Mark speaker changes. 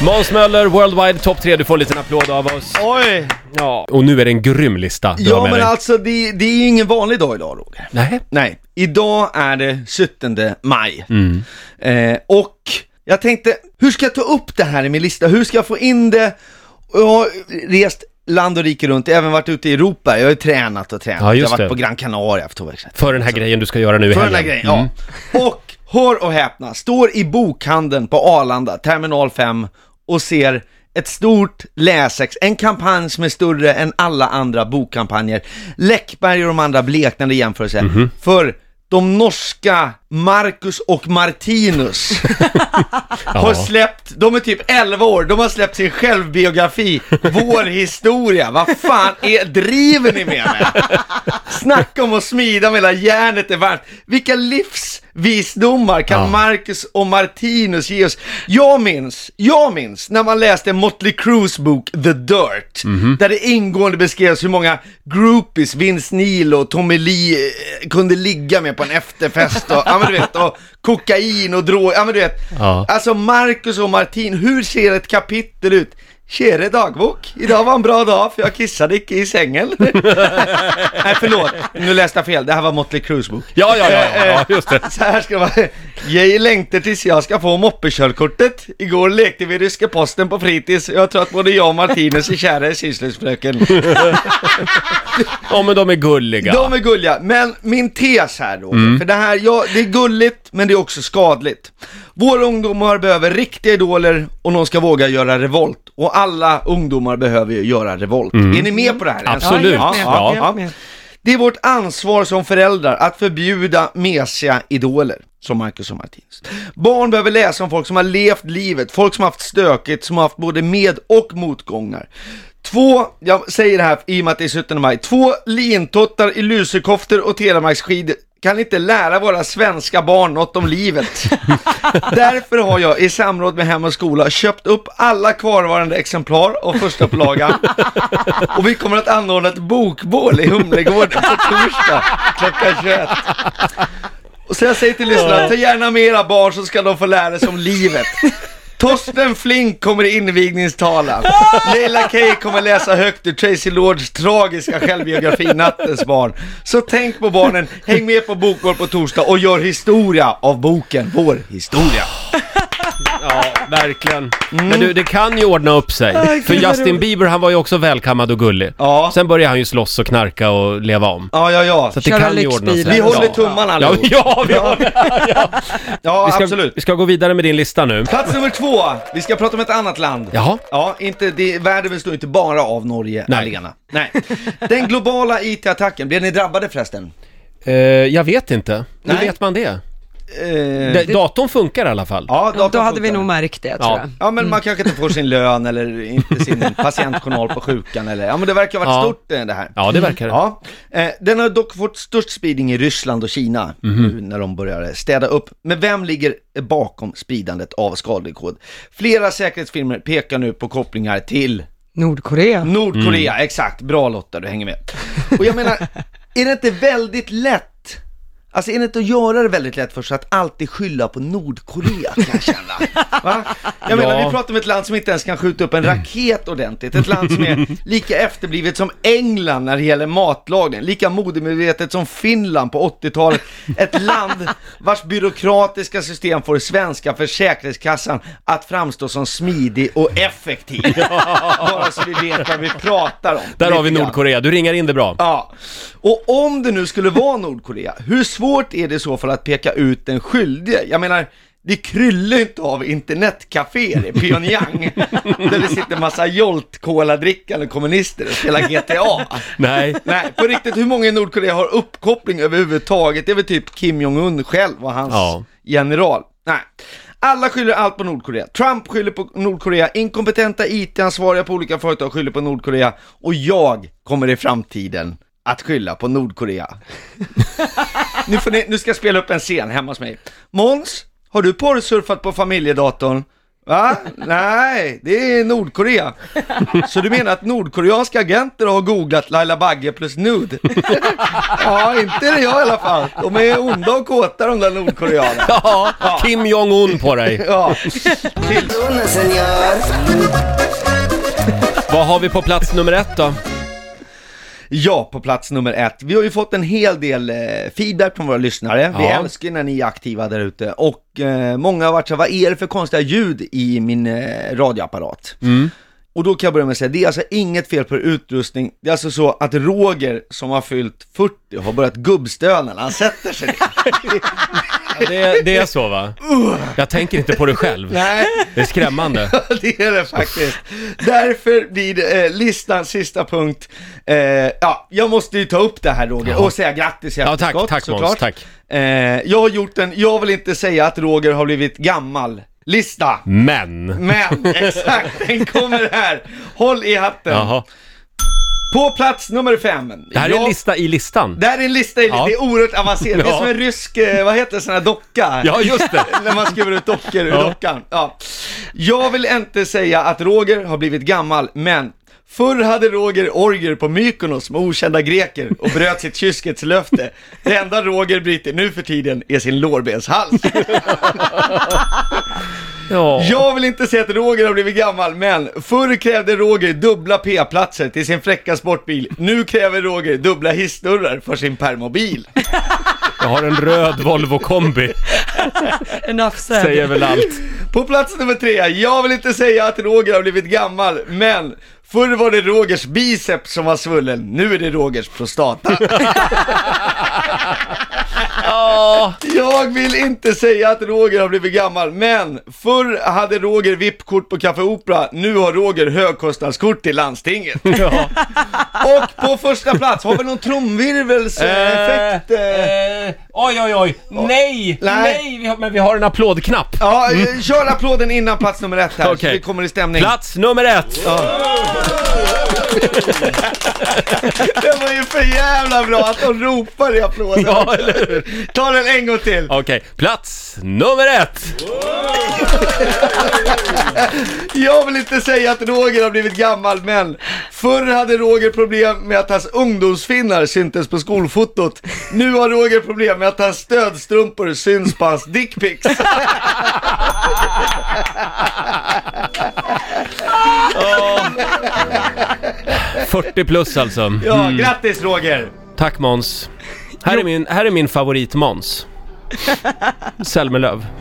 Speaker 1: Måns Möller, Worldwide Top 3. Du får en liten applåd av oss.
Speaker 2: Oj!
Speaker 1: Ja. Och nu är det en grym lista du har
Speaker 2: Ja
Speaker 1: med
Speaker 2: men
Speaker 1: dig.
Speaker 2: alltså det, det är ju ingen vanlig dag idag Roger.
Speaker 1: Nej.
Speaker 2: Nej, idag är det 17 maj.
Speaker 1: Mm.
Speaker 2: Eh, och jag tänkte, hur ska jag ta upp det här i min lista? Hur ska jag få in det? Och Jag har rest land och rike runt, även varit ute i Europa. Jag har ju tränat och tränat.
Speaker 1: Ja, just
Speaker 2: jag har varit
Speaker 1: det.
Speaker 2: på Gran Canaria för två veckor sedan.
Speaker 1: För den här grejen du ska göra nu i
Speaker 2: För
Speaker 1: helgen. Mm.
Speaker 2: den här grejen, ja. Och, hör och häpna, står i bokhandeln på Arlanda, terminal 5 och ser ett stort läsex, en kampanj som är större än alla andra bokkampanjer. Läckberg och de andra bleknande i jämförelse.
Speaker 1: Mhm.
Speaker 2: För de norska Marcus och Martinus har
Speaker 1: Ja.
Speaker 2: släppt, de är typ 11 år, de har släppt sin självbiografi, Vår historia. Vad fan är, driver ni med mig? Snacka om att smida med hela järnet är varmt. Vilka livsvisdomar kan
Speaker 1: Ja.
Speaker 2: Marcus och Martinus ge oss? Jag minns, jag minns när man läste Motley Crues bok The Dirt,
Speaker 1: Mhm.
Speaker 2: där det ingående beskrevs hur många groupies Vince Neil och Tommy Lee eh, kunde ligga med på en efterfest och, ja men du vet, och kokain och droger, ja men du vet.
Speaker 1: Ja.
Speaker 2: Alltså Marcus och Martin, hur ser ett kapitel ut? Käre dagbok, idag var en bra dag för jag kissade icke i sängen. Nej förlåt, nu läste jag fel, det här var Motley Crues bok.
Speaker 1: Ja, ja,
Speaker 2: Eh,
Speaker 1: ja, ja, ja, just det.
Speaker 2: Så här ska det vara. Jag längtar tills jag ska få moppekörkortet. Igår lekte vi ryska posten på fritids. Jag tror att både jag och Martinus är kära i sysslöjdsfröken.
Speaker 1: Ja, men de är gulliga.
Speaker 2: De är gulliga, men min tes här då, för det här, ja, det är gulligt men det är också skadligt. Våra ungdomar behöver riktiga idoler och någon ska våga göra revolt. Och alla ungdomar behöver ju göra revolt. Är ni med på det här?
Speaker 1: Absolut.
Speaker 2: Ja,
Speaker 1: Ja,
Speaker 2: ja,
Speaker 1: helt
Speaker 2: ja. Det är vårt ansvar som föräldrar att förbjuda mesiga idoler, som Marcus och Martinus. Barn behöver läsa om folk som har levt livet, folk som har haft stökigt, som har haft både med och motgångar. Två, jag säger det här i och med att det är 17 maj, två lintottar i lusekoftor och telemarksskidor kan inte lära våra svenska barn något om livet. Därför har jag i samråd med Hem och Skola köpt upp alla kvarvarande exemplar av första upplagan. Och vi kommer att anordna ett bokbål i Humlegården på torsdag klockan 21. Och så jag säger till lyssnarna, ta gärna med era barn så ska de få lära sig om livet. Torsten Flink kommer i invigningstalen. Leila Kay kommer läsa högt ur Tracy Lords tragiska självbiografi Nattens barn. Så tänk på barnen, häng med på Bokbål på torsdag och gör historia av boken Vår historia.
Speaker 1: Ja, verkligen.
Speaker 2: Mm.
Speaker 1: Men du, det kan ju ordna upp sig. För
Speaker 3: gud, vad
Speaker 1: Justin
Speaker 3: roligt.
Speaker 1: Bieber, han var ju också välkammad och gullig.
Speaker 2: Ja.
Speaker 1: Sen började han ju slåss och knarka och leva om.
Speaker 2: Ja, ja, ja.
Speaker 1: Så att det
Speaker 3: Köra
Speaker 1: kan ju ordna sig.
Speaker 3: lyxbilen.
Speaker 2: Vi håller
Speaker 1: ja.
Speaker 2: tummarna
Speaker 1: Ja,
Speaker 2: allihop.
Speaker 1: ja, vi håller...
Speaker 2: Ja,
Speaker 1: Vi ska,
Speaker 2: absolut.
Speaker 1: vi ska gå vidare med din lista nu.
Speaker 2: Plats nummer två, vi ska prata om ett annat land.
Speaker 1: Jaha.
Speaker 2: Ja, inte, det, världen består inte bara av Norge
Speaker 1: Nej.
Speaker 2: allena. Nej. Den globala IT-attacken, blev ni drabbade förresten?
Speaker 1: Eh, jag vet inte. Hur
Speaker 2: Nej.
Speaker 1: vet man det?
Speaker 2: Eh,
Speaker 1: det? Datorn funkar i alla fall.
Speaker 2: ja,
Speaker 3: Ja, då
Speaker 2: datorn
Speaker 3: hade vi
Speaker 2: funkar.
Speaker 3: nog märkt det tror
Speaker 1: Ja.
Speaker 3: jag.
Speaker 2: Ja, men man kanske inte får sin lön eller inte sin patientjournal på sjukan eller, ja men det verkar ha varit
Speaker 1: Ja.
Speaker 2: stort eh, det här.
Speaker 1: Ja, det verkar det.
Speaker 2: Ja, eh, den har dock fått störst spridning i Ryssland och Kina nu när de börjar städa upp. Men vem ligger bakom spridandet av skadlig kod? Flera säkerhetsfirmor pekar nu på kopplingar till
Speaker 3: Nordkorea.
Speaker 2: Nordkorea, exakt. Bra Lotta, du hänger med. Och jag menar, är det inte väldigt lätt, alltså är det inte att göra det väldigt lätt för sig att alltid skylla på Nordkorea kan jag känna. Va? Jag menar,
Speaker 1: Ja. Mm.
Speaker 2: vi pratar om ett land som inte ens kan skjuta upp en raket ordentligt. Ett land som är lika efterblivet som England när det gäller matlagning. Lika modemedvetet som Finland på 80-talet. Ett land vars byråkratiska system får svenska försäkringskassan att framstå som smidig och effektiv. Bara så vi vet vad vi pratar om.
Speaker 1: Där har vi
Speaker 2: Lite grann.
Speaker 1: Nordkorea. Du ringar in det bra.
Speaker 2: Ja, och om det nu skulle vara Nordkorea, hur svårt är det i så fall att peka ut den skyldige? Jag menar, det kryllar ju inte av internetcaféer i Pyongyang, där det sitter massa jolt-cola-drickande kommunister och spelar GTA.
Speaker 1: Nej.
Speaker 2: Nej, på riktigt, hur många i Nordkorea har uppkoppling överhuvudtaget? Det är väl typ Kim Jong-Un själv och hans
Speaker 1: Ja.
Speaker 2: general. Nej. Alla skyller allt på Nordkorea. Trump skyller på Nordkorea, inkompetenta IT-ansvariga på olika företag skyller på Nordkorea och jag kommer i framtiden att skylla på Nordkorea. nu, får ni, nu ska jag spela upp en scen hemma hos mig. Måns, har du porrsurfat på familjedatorn? Va? Nej, det är Nordkorea. Så du menar att nordkoreanska agenter har googlat Laila Bagge plus nude? Ja, inte är det jag i alla fall. De är onda och kåta de där nordkoreanerna.
Speaker 1: Ja, Kim Jong-Un på dig.
Speaker 2: Ja.
Speaker 3: Una señor.
Speaker 1: Vad har vi på plats nummer ett då?
Speaker 2: ja, på plats nummer ett. Vi har ju fått en hel del eh, feedback från våra lyssnare. Vi
Speaker 1: Ja.
Speaker 2: älskar när ni är aktiva där ute. Och eh, många har varit så här, vad är det för konstiga ljud i min eh, radioapparat? Och då kan jag börja med att säga, det är alltså inget fel på er utrustning. Det är alltså så att Roger som har fyllt 40 har börjat gubbstöna när han sätter sig ner.
Speaker 1: Det, det är så va? Jag tänker inte på det själv.
Speaker 2: Nej,
Speaker 1: Det är skrämmande.
Speaker 2: det är det faktiskt. Därför blir det eh, listans sista punkt. Eh, ja, jag måste ju ta upp det här Roger
Speaker 1: Ja.
Speaker 2: och säga grattis i
Speaker 1: Ja, tack,
Speaker 2: efterskott,
Speaker 1: tack, Måns,
Speaker 2: såklart.
Speaker 1: tack.
Speaker 2: Eh, jag har gjort en, jag vill inte säga att Roger har blivit gammal. Lista!
Speaker 1: Men.
Speaker 2: Men, exakt, den kommer här. Håll i hatten.
Speaker 1: Jaha.
Speaker 2: På plats nummer fem.
Speaker 1: Det här är en
Speaker 2: Jag-
Speaker 1: lista i listan.
Speaker 2: Det här är en lista, i-
Speaker 1: Ja.
Speaker 2: det är oerhört avancerat. Det är
Speaker 1: Ja.
Speaker 2: som en rysk, eh, vad heter det, sån här docka?
Speaker 1: Ja, just det.
Speaker 2: När man skriver ut dockor ur
Speaker 1: Ja.
Speaker 2: dockan. Ja. Jag vill inte säga att Roger har blivit gammal, men Förr hade Roger orger på Mykonos med okända greker och bröt sitt kyskhetslöfte. Det enda Roger bryter nu för tiden är sin lårbenshals.
Speaker 1: Ja.
Speaker 2: Jag vill inte säga att Roger har blivit gammal, men förr krävde Roger dubbla p-platser till sin fräcka sportbil. Nu kräver Roger dubbla hissdörrar för sin permobil.
Speaker 1: Jag har en röd Volvo kombi,
Speaker 4: Enough said.
Speaker 1: säger väl allt.
Speaker 2: På plats nummer tre, jag vill inte säga att Roger har blivit gammal, men förr var det Rogers biceps som var svullen, nu är det Rogers prostata. Jag vill inte säga att Roger har blivit gammal, men förr hade Roger VIP-kort på Café Opera, nu har Roger högkostnadskort till landstinget.
Speaker 1: Ja.
Speaker 2: Och på första plats, har vi någon tromvirvelseffekt? eh?
Speaker 1: oj, oj, oj. Nej,
Speaker 2: nej,
Speaker 1: men vi har en applådknapp.
Speaker 2: Ja, eh, kör applåden innan plats nummer ett här, så
Speaker 1: Okej.
Speaker 2: vi kommer i stämning.
Speaker 1: Plats nummer ett.
Speaker 2: Det var ju för jävla bra att de ropar i applåden.
Speaker 1: Ja, eller hur?
Speaker 2: Ta den en gång till.
Speaker 1: Okej, plats nummer ett.
Speaker 2: Jag vill inte säga att Roger har blivit gammal, men förr hade Roger problem med att hans ungdomsfinnar syntes på skolfotot. Nu har Roger problem med att hans stödstrumpor syns på hans dickpics.
Speaker 1: Ja. 40 plus alltså.
Speaker 2: Ja, grattis Roger!
Speaker 1: Tack Måns. Här är min, här är min favorit Måns. Selmelöv.